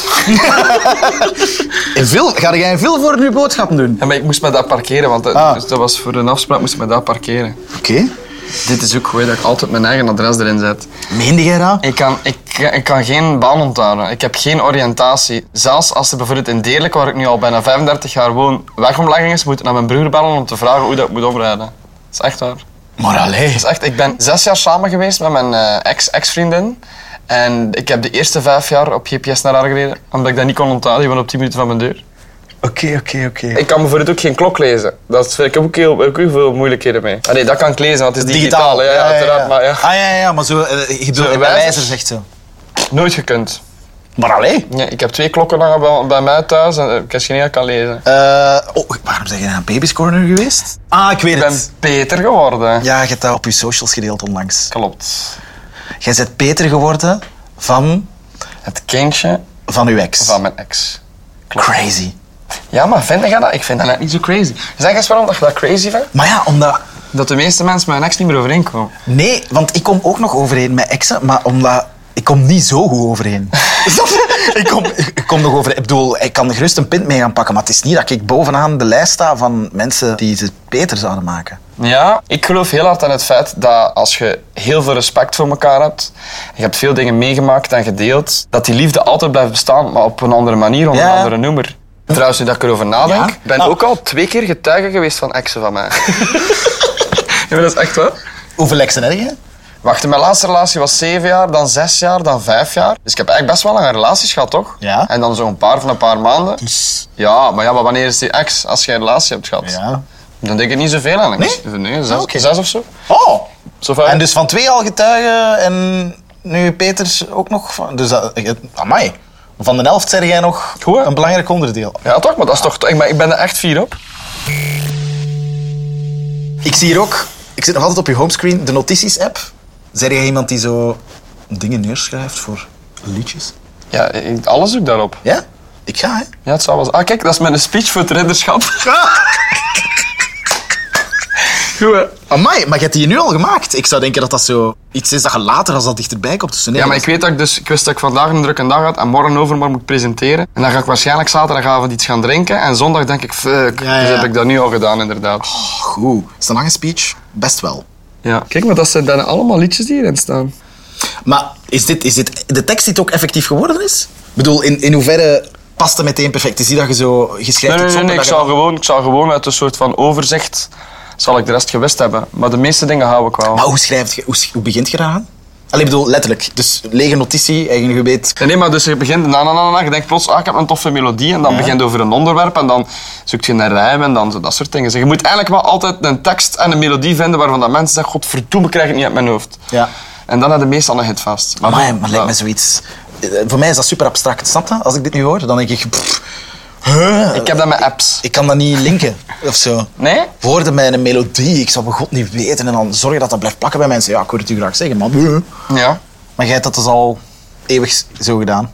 Speaker 4: In veel, ga jij in veel voor nu boodschappen doen?
Speaker 5: Ja, maar ik moest me dat parkeren, want dat,
Speaker 4: Ah.
Speaker 5: dus dat was voor een afspraak moest ik me dat parkeren.
Speaker 4: Oké.
Speaker 5: Dit is ook goed, hè, dat ik altijd mijn eigen adres erin zet.
Speaker 4: Meende jij dat?
Speaker 5: Ik kan, ik, ik kan geen baan onthouden. Ik heb geen oriëntatie. Zelfs als er bijvoorbeeld in Deerlijk, waar ik nu al bijna 35 jaar woon, wegomlegging is, moet ik naar mijn broer bellen om te vragen hoe dat ik moet omrijden. Dat is echt waar.
Speaker 4: Maar allee.
Speaker 5: Dat is Dus echt, ik ben zes jaar samen geweest met mijn eh, ex, ex-vriendin. En ik heb de eerste vijf jaar op GPS naar haar gereden, omdat ik dat niet kon onthouden. Die woonde op 10 minuten van mijn deur.
Speaker 4: Oké, oké, oké.
Speaker 5: Ik kan bijvoorbeeld ook geen klok lezen. Dat vind ik ook heel, heb ik ook veel moeilijkheden mee. Ah, nee, dat kan ik lezen, want het is digitaal. ja, ja, uiteraard. Maar ja,
Speaker 4: Ah ja, ja, maar zo, eh, je doet
Speaker 5: een
Speaker 4: een
Speaker 5: wijzer?
Speaker 4: wijzer, zegt ze.
Speaker 5: nooit gekund.
Speaker 4: Maar allee.
Speaker 5: Ja, ik heb twee klokken hangen bij, bij mij thuis en eh, ik heb geen één kan lezen.
Speaker 4: Eh, oh, waarom ben je naar een baby's corner geweest? Ah, ik weet
Speaker 5: Ik ben
Speaker 4: het.
Speaker 5: beter geworden.
Speaker 4: Ja, je hebt dat op je socials gedeeld onlangs.
Speaker 5: Klopt.
Speaker 4: Jij bent beter geworden van,
Speaker 5: Het kindje
Speaker 4: van uw ex.
Speaker 5: van mijn ex.
Speaker 4: Crazy.
Speaker 5: Ja, maar vind je dat? Ik vind dat net niet zo crazy. Zeg eens waarom dat je dat crazy vindt?
Speaker 4: Maar ja, omdat
Speaker 5: Dat de meeste mensen met mijn ex niet meer overeenkomen.
Speaker 4: Nee, want ik kom ook nog overeen met exen, maar omdat... Ik kom niet zo goed overeen. Snap je? ik, kom, ik kom nog overeen. Ik bedoel, ik kan er gerust een pint mee gaan pakken, maar het is niet dat ik bovenaan de lijst sta van mensen die ze beter zouden maken.
Speaker 5: Ja, ik geloof heel hard aan het feit dat als je heel veel respect voor elkaar hebt, je hebt veel dingen meegemaakt en gedeeld, dat die liefde altijd blijft bestaan, maar op een andere manier, onder
Speaker 4: Ja.
Speaker 5: een andere noemer. Trouwens, nu dat ik erover nadenk,
Speaker 4: Ja?
Speaker 5: ik ben
Speaker 4: Nou.
Speaker 5: ook al twee keer getuige geweest van exen van mij. ja, maar dat is echt waar.
Speaker 4: Hoeveel exen heb je?
Speaker 5: Wacht, mijn laatste relatie was zeven jaar, dan zes jaar, dan vijf jaar. Dus ik heb eigenlijk best wel lange relaties gehad, toch?
Speaker 4: Ja.
Speaker 5: En dan zo'n paar van een paar maanden. Ja, maar ja, maar wanneer is die ex als je een relatie hebt gehad?
Speaker 4: Ja.
Speaker 5: Dan denk ik niet zoveel aan.
Speaker 4: Nee?
Speaker 5: Nee, zes,
Speaker 4: Ah, oké.
Speaker 5: zes of zo.
Speaker 4: Oh!
Speaker 5: zo vaak.
Speaker 4: En dus van twee al getuigen en nu Peters ook nog. van- Dus dat, amai. Van de helft zeg jij nog
Speaker 5: Goed, hè?
Speaker 4: een belangrijk onderdeel.
Speaker 5: Ja, toch? Maar dat is toch... Ik ben, ik ben er echt fier op.
Speaker 4: Ik zie hier ook Ik zit nog altijd op je homescreen, de notities-app. Zijn jij iemand die zo dingen neerschrijft voor liedjes?
Speaker 5: Ja, ik- alles ook daarop.
Speaker 4: Ja? Ik ga, hè.
Speaker 5: Ja, het zou wel... Ah, kijk, dat is mijn speech voor het ridderschap. Goed, hè?
Speaker 4: Amai, maar je hebt die nu al gemaakt. Ik zou denken dat dat zo iets is dat je later, als dat dichterbij komt. Dus nee,
Speaker 5: Ja, maar ik
Speaker 4: dat-
Speaker 5: weet dat ik dus... Ik wist dat ik vandaag een drukke dag had en morgen overmorgen moet presenteren. En dan ga ik waarschijnlijk zaterdagavond iets gaan drinken. En zondag denk ik, fuck,
Speaker 4: Ja, ja,
Speaker 5: dus
Speaker 4: ja.
Speaker 5: heb ik dat nu al gedaan, inderdaad.
Speaker 4: Goed. Is het een lange speech? Best wel.
Speaker 5: Ja. Kijk, maar dat zijn dan allemaal liedjes die hierin staan.
Speaker 4: Maar is dit, is dit de tekst die het ook effectief geworden is? Ik bedoel, in, in hoeverre past het meteen perfect? Is die dat je zo geschreven
Speaker 5: Nee, nee, nee, nee, ik, zal gewoon, ik zal gewoon uit een soort van overzicht zal ik de rest gewist hebben. Maar de meeste dingen hou ik wel.
Speaker 4: Maar hoe schrijf je, hoe, sch- hoe begint je eraan? Allee, ik bedoel, letterlijk. Dus lege notitie, eigen gebed.
Speaker 5: Nee, nee, maar dus je begint na, na, na, na, je denkt plots, ah, ik heb een toffe melodie en dan begint over een onderwerp en dan zoekt je naar rijm en dan zo dat soort dingen. Dus je moet eigenlijk wel altijd een tekst en een melodie vinden waarvan dat mensen zeggen, godverdomme, krijg ik het niet uit mijn hoofd.
Speaker 4: Ja.
Speaker 5: En dan hebben de meestal een hit vast.
Speaker 4: Maar, maar,
Speaker 5: goed,
Speaker 4: lijkt me
Speaker 5: ja.
Speaker 4: zoiets... eh, Voor mij is dat super abstract, snap je? Als ik dit nu hoor, dan denk ik... pff, huh,
Speaker 5: Ik heb dat met apps.
Speaker 4: ik kan dat niet linken, of zo.
Speaker 5: Nee?
Speaker 4: Woorden met een melodie, ik zou bij god niet weten. En dan zorgen dat dat blijft plakken bij mensen. Ja, ik hoor het u graag zeggen, maar... huh.
Speaker 5: Ja.
Speaker 4: Maar jij hebt dat dus al eeuwig zo gedaan.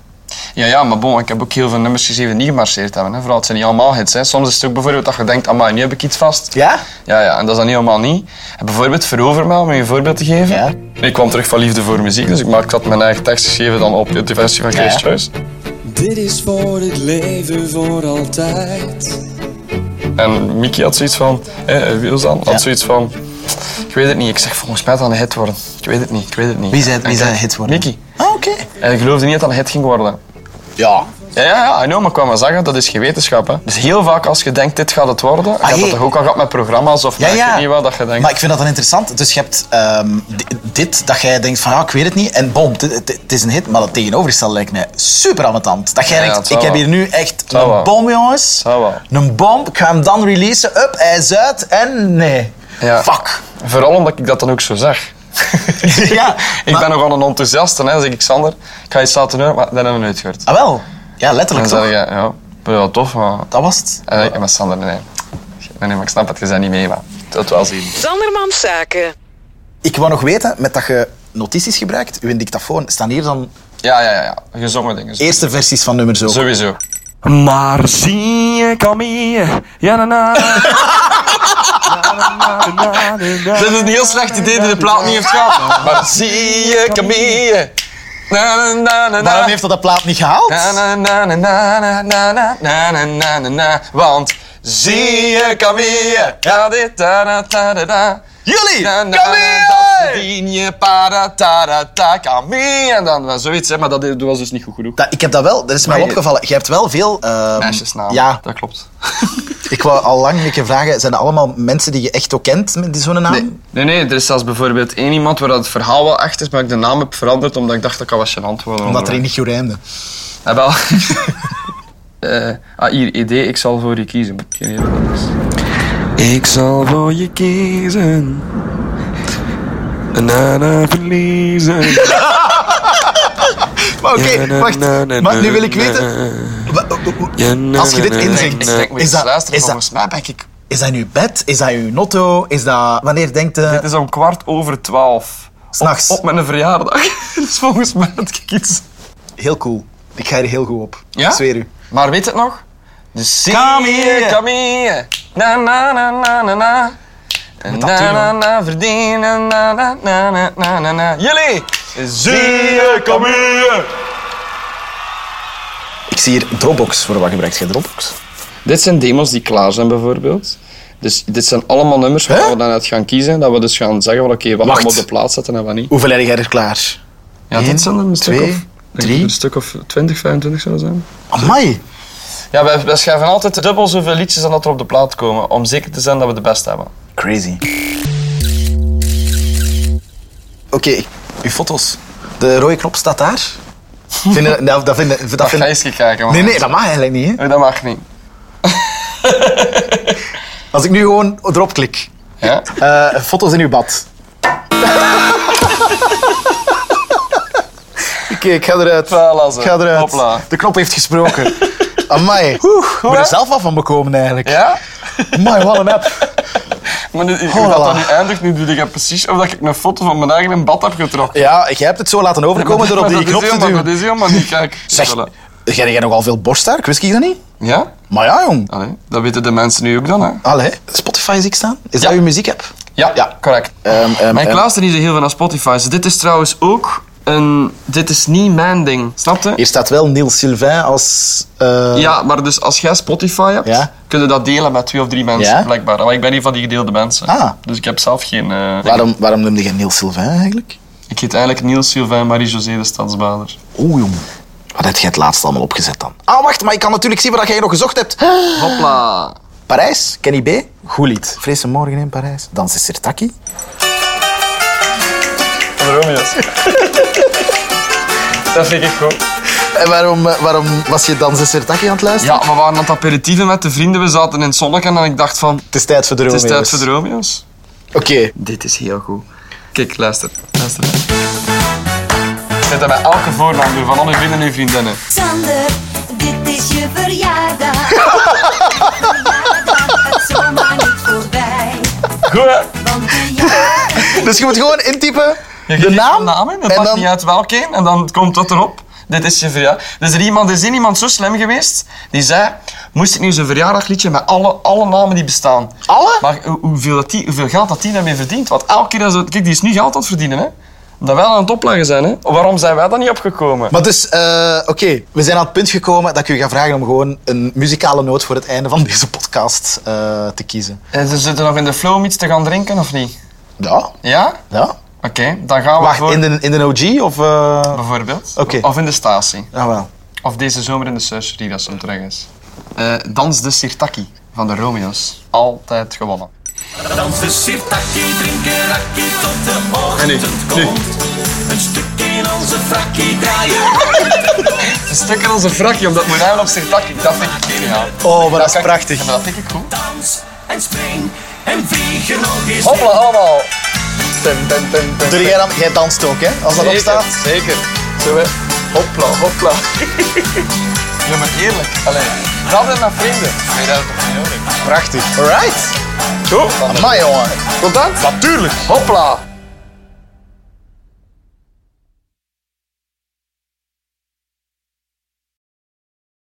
Speaker 5: Ja, ja, maar bon, ik heb ook heel veel nummers geschreven die niet gemarcheerd hebben. Hè. Vooral, het zijn niet allemaal hits. Hè. Soms is het ook bijvoorbeeld dat je denkt, amai, nu heb ik iets vast.
Speaker 4: Ja?
Speaker 5: Ja, ja, en dat is dan niet helemaal niet. En bijvoorbeeld Verover me, om je een voorbeeld te geven.
Speaker 4: Ja.
Speaker 5: Ik kwam terug van Liefde voor Muziek, dus ik maak- ik had mijn eigen tekst geschreven dan op de versie van Chris Choice.
Speaker 6: Dit is voor het leven voor altijd.
Speaker 5: En Mickey had zoiets van, eh, eh, Wiels dan, had
Speaker 4: Ja.
Speaker 5: zoiets van, ik weet het niet. Ik zeg, volgens mij gaat dat een hit worden. Ik weet het niet, ik weet het niet.
Speaker 4: Wie zei het-
Speaker 5: En
Speaker 4: wie
Speaker 5: ik
Speaker 4: zei
Speaker 5: zeg,
Speaker 4: een hit worden?
Speaker 5: Mickey.
Speaker 4: Ah, oké.
Speaker 5: En ik geloofde niet dat dat een hit ging worden.
Speaker 4: Ja.
Speaker 5: Ja, ja, ja, I know, maar ik kwam maar zeggen, dat is geen wetenschap. Hè. Dus heel vaak als je denkt, dit gaat het worden, ik heb
Speaker 4: jee.
Speaker 5: dat toch ook al gehad met programma's of
Speaker 4: Ja,
Speaker 5: met, ik
Speaker 4: ja.
Speaker 5: weet niet wat dat je denkt.
Speaker 4: Maar ik vind dat dan interessant. Dus je hebt ehm, di- dit, dat jij denkt van, ja, ik weet het niet. En bom, dit- dit- het is een hit. Maar dat tegenovergestelde lijkt mij super ambetant. Dat jij
Speaker 5: Ja, het
Speaker 4: denkt,
Speaker 5: zou
Speaker 4: ik heb
Speaker 5: wel.
Speaker 4: hier nu echt
Speaker 5: zou
Speaker 4: een
Speaker 5: wel.
Speaker 4: bom, jongens.
Speaker 5: Zou wel.
Speaker 4: Een bom, ik ga hem dan releasen. Up, hij is uit. En nee.
Speaker 5: Ja.
Speaker 4: Fuck.
Speaker 5: Vooral omdat ik dat dan ook zo zeg.
Speaker 4: Ja,
Speaker 5: ik
Speaker 4: maar-
Speaker 5: ben nogal een enthousiaste, hè, dan zeg ik Sander. Ik ga iets laten doen, maar dat hebben we nooit gehoord.
Speaker 4: Ah, wel. Ja,
Speaker 5: Dan
Speaker 4: letterlijk
Speaker 5: zeg
Speaker 4: toch.
Speaker 5: je, ja, ben je wel tof, maar...
Speaker 4: Dat was het.
Speaker 5: En ik, maar Sander, nee. Nee, nee, maar ik snap het, je bent niet mee, maar... Dat wel zien.
Speaker 3: Zandermans Zaken.
Speaker 4: Ik wou nog weten, met dat je notities gebruikt, uw dictafoon, staan hier dan
Speaker 5: Ja, ja, ja, ja. Gezongen dingen. zo.
Speaker 4: eerste versies van nummers ook.
Speaker 5: Sowieso.
Speaker 6: Maar zie ik al meer. Ja, na, na.
Speaker 5: Dit is een heel slecht idee dat de plaat niet heeft gehad. Maar zie je Camille... Na, na, na, na, na.
Speaker 4: Waarom heeft dat dat plaat niet gehaald?
Speaker 5: Na, na, na, na, na, na, na, na, na, na, na, na, na. Want zie je Camille... Ja, dit, da, da, da, da, da.
Speaker 4: Jullie!
Speaker 5: Na, na, na, Dat
Speaker 4: Camille!
Speaker 5: verdien je, para, ta, da, ta, Camille. En dan wel zoiets, hè, maar dat dat was dus niet goed genoeg.
Speaker 4: Dat, ik heb dat wel, dat is mij
Speaker 5: Maar je-
Speaker 4: opgevallen. Je hebt wel veel... ehm,
Speaker 5: Meisjesnaam.
Speaker 4: Ja,
Speaker 5: Dat klopt.
Speaker 4: ik wou al lang een keer vragen, zijn dat allemaal mensen die je echt ook kent, met die zo'n naam?
Speaker 5: Nee, nee, nee, er is zelfs bijvoorbeeld één iemand waar dat het verhaal wel echt is, maar ik de naam heb veranderd omdat ik dacht dat ik al was gênant worden.
Speaker 4: Omdat er niet goed rijmde.
Speaker 5: Ah, wel. Eh, ah, hier, ED, ik zal voor je kiezen. Ik weet niet wat dat is.
Speaker 6: Ik zal voor je kiezen. Na, na, verliezen.
Speaker 4: Maar oké,
Speaker 6: Ja, na,
Speaker 4: wacht.
Speaker 6: na, na,
Speaker 4: Maar nu wil ik
Speaker 6: na,
Speaker 4: weten...
Speaker 6: na.
Speaker 4: wa- wa- wa-
Speaker 6: Ja, na,
Speaker 4: Als je
Speaker 6: na,
Speaker 4: dit
Speaker 6: na,
Speaker 5: Ik
Speaker 4: inzingt,
Speaker 6: na, na.
Speaker 5: denk, moet
Speaker 4: is
Speaker 5: je eens
Speaker 4: dat,
Speaker 5: luisteren,
Speaker 4: is, dat,
Speaker 5: volgens mij ben ik...
Speaker 4: is dat in uw bed? Is dat in uw notto? Is dat... Wanneer denkt je...
Speaker 5: Het is om kwart over twaalf.
Speaker 4: S'nachts.
Speaker 5: Op mijn verjaardag. dus volgens mij had ik iets...
Speaker 4: Heel cool. Ik ga er heel goed op.
Speaker 5: Ja?
Speaker 4: Ik zweer u.
Speaker 5: Maar weet het nog? Dus zie
Speaker 4: Come here.
Speaker 5: je, come here. Na, na, na, na, na, na.
Speaker 4: dat
Speaker 5: Na,
Speaker 4: doen,
Speaker 5: na,
Speaker 4: man.
Speaker 5: na, verdienen, na, na, na, na, na, na, na. Jullie! Zie je, come here.
Speaker 4: Ik zie hier Dropbox. Voor wat gebruikt jij Dropbox?
Speaker 5: Dit zijn demos die klaar zijn, bijvoorbeeld. Dus dit zijn allemaal nummers waar
Speaker 4: Hè?
Speaker 5: we dan uit gaan kiezen. Dat we dus gaan zeggen, van, oké, wat gaan
Speaker 4: Wacht.
Speaker 5: we op de plaats zetten en wat niet.
Speaker 4: Hoeveel heb jij er klaar?
Speaker 5: Ja,
Speaker 4: Eén,
Speaker 5: dit zijn er een stuk
Speaker 4: twee,
Speaker 5: of... ik denk
Speaker 4: drie.
Speaker 5: Een stuk of 20, 25 zou zijn.
Speaker 4: Amai.
Speaker 5: Ja, wij, wij schrijven altijd dubbel zoveel liedjes dan dat er op de plaat komen. Om zeker te zijn dat we de beste hebben.
Speaker 4: Crazy. Oké, uw foto's. De rode knop staat daar. Vinden, dat, dat vinden, dat
Speaker 5: Dat ga
Speaker 4: vinden,
Speaker 5: eens kijken, man.
Speaker 4: nee, nee, dat mag eigenlijk niet. Hè.
Speaker 5: Nee, dat mag niet.
Speaker 4: Als ik nu gewoon erop klik.
Speaker 5: Ja?
Speaker 4: Eh, foto's in uw bad. Oké, ik ga eruit.
Speaker 5: Voilà, zo.
Speaker 4: Ik ga eruit.
Speaker 5: Hopla.
Speaker 4: De knop heeft gesproken. Amai. Oeh, ik ben er zelf af van bekomen eigenlijk.
Speaker 5: Ja?
Speaker 4: Amai, wat een app.
Speaker 5: Maar nu, hoe
Speaker 4: Oh,
Speaker 5: dat dan
Speaker 4: voilà.
Speaker 5: nu eindigt, nu doe ik precies of dat ik een foto van mijn eigen bad heb getrokken.
Speaker 4: Ja, jij hebt het zo laten overkomen door op
Speaker 5: Maar dat
Speaker 4: die knop
Speaker 5: is
Speaker 4: te
Speaker 5: helemaal-
Speaker 4: duwen.
Speaker 5: Dat is helemaal niet, kijk.
Speaker 4: Zeg,
Speaker 5: Voilà.
Speaker 4: jij jij nogal veel borsthaar? Wist ik dat niet?
Speaker 5: Ja?
Speaker 4: Maar ja, jong.
Speaker 5: Allee, dat weten de mensen nu ook dan, hè?
Speaker 4: Allee, Spotify zie ik staan. Is dat
Speaker 5: Ja.
Speaker 4: uw muziekapp? Ja.
Speaker 5: correct.
Speaker 4: Ehm, ehm,
Speaker 5: Maar ik
Speaker 4: ehm.
Speaker 5: luister niet zo heel veel naar Spotify. Dus dit is trouwens ook een... Dit is niet mijn ding, snap je?
Speaker 4: Hier staat wel Niels Sylvain als... eh,
Speaker 5: Ja, maar dus als jij Spotify hebt,
Speaker 4: Ja.
Speaker 5: kun je dat delen met twee of drie mensen,
Speaker 4: Ja.
Speaker 5: blijkbaar. Maar ik ben een van die gedeelde mensen.
Speaker 4: Ah.
Speaker 5: Dus ik heb zelf geen... eh,
Speaker 4: Waarom, waarom noemde je Niels Sylvain eigenlijk?
Speaker 5: Ik heet eigenlijk Niels Sylvain Marie-José de Stadsbader.
Speaker 4: Oeh, jong. Wat heb jij het laatst allemaal opgezet dan? Ah, wacht, maar ik kan natuurlijk zien waar jij nog gezocht hebt.
Speaker 5: Hopla.
Speaker 4: Parijs, Kenny B.
Speaker 5: Goed lied.
Speaker 4: Frisse morgen in Parijs. Dans is Sirtaki.
Speaker 5: Romeo's. dat vind ik goed.
Speaker 4: En waarom, eh, waarom was je Dans is Sirtaki aan het luisteren?
Speaker 5: Ja, we waren aan het aperitieven met de vrienden. We zaten in het zonnetje en ik dacht van...
Speaker 4: Het is tijd voor de
Speaker 5: Het
Speaker 4: Romeo's.
Speaker 5: is tijd voor de Romeo's.
Speaker 4: Oké.
Speaker 5: Dit is heel goed. Kijk, luister. Luister. Ik zet dat bij elke voornaam doen, van alle vrienden en vriendinnen.
Speaker 7: Sander, dit is je verjaardag. Je verjaardag gaat zomaar niet voorbij.
Speaker 5: Goed, hè?
Speaker 7: Want de jaren
Speaker 4: Dus je moet gewoon intypen
Speaker 5: Je
Speaker 4: de
Speaker 5: geeft
Speaker 4: naam.
Speaker 5: een naam in, het
Speaker 4: en
Speaker 5: maakt
Speaker 4: dan-
Speaker 5: niet uit welke een, en dan komt dat erop. Dit is je verjaardag. Dus er, iemand, er is hier iemand zo slim geweest, die zei, moest ik nu zo'n verjaardagliedje met alle, alle namen die bestaan.
Speaker 4: Alle?
Speaker 5: Maar hoe- hoeveel, dat die, hoeveel geld dat die daarmee verdient? Want elke keer, dat ze- kijk, die is nu geld aan het verdienen, hè. Dat wij aan het opleggen zijn, hè. Waarom zijn wij daar niet opgekomen?
Speaker 4: Maar dus, eh, oké, we zijn aan het punt gekomen dat ik u ga vragen om gewoon een muzikale noot voor het einde van deze podcast eh, te kiezen.
Speaker 5: Eh, Ze zitten nog in de flow om iets te gaan drinken, of niet?
Speaker 4: Ja,
Speaker 5: Ja?
Speaker 4: ja.
Speaker 5: Oké, dan gaan we
Speaker 4: Wacht,
Speaker 5: voor...
Speaker 4: in de, in de OG of... eh
Speaker 5: Bijvoorbeeld.
Speaker 4: Oké.
Speaker 5: Of in de statie.
Speaker 4: Ja, wel.
Speaker 5: Of deze zomer in de surgery, dat ze terug is. Eh, dans de Sirtaki van de Romeo's. Altijd gewonnen.
Speaker 8: Dans de sirtaki, drinken rakkie tot de
Speaker 5: En
Speaker 8: ochtend
Speaker 5: nu, nu.
Speaker 8: komt. Een stuk in onze frakkie draaien.
Speaker 5: Een stuk in onze frakje, omdat moet op Sirtaki. Dat vind ik geniaal.
Speaker 4: Oh, maar dat is prachtig.
Speaker 5: Ja, maar dat vind ik goed.
Speaker 8: Dans en spring en vliegen nog eens.
Speaker 5: Hoppla, allemaal. Tum, tum, tum, tum.
Speaker 4: Doe jij, dan, jij danst ook, hè? Als dat
Speaker 5: Zeker,
Speaker 4: opstaat.
Speaker 5: Zeker. Zo, hè. Hopla, hopla. ja, maar eerlijk. Allee, dat en naar vrienden. Nee, dat is toch niet nodig?
Speaker 4: Prachtig. Alright.
Speaker 5: Goed.
Speaker 4: Amai, jongen.
Speaker 5: Tot dan.
Speaker 4: Natuurlijk.
Speaker 5: Hopla.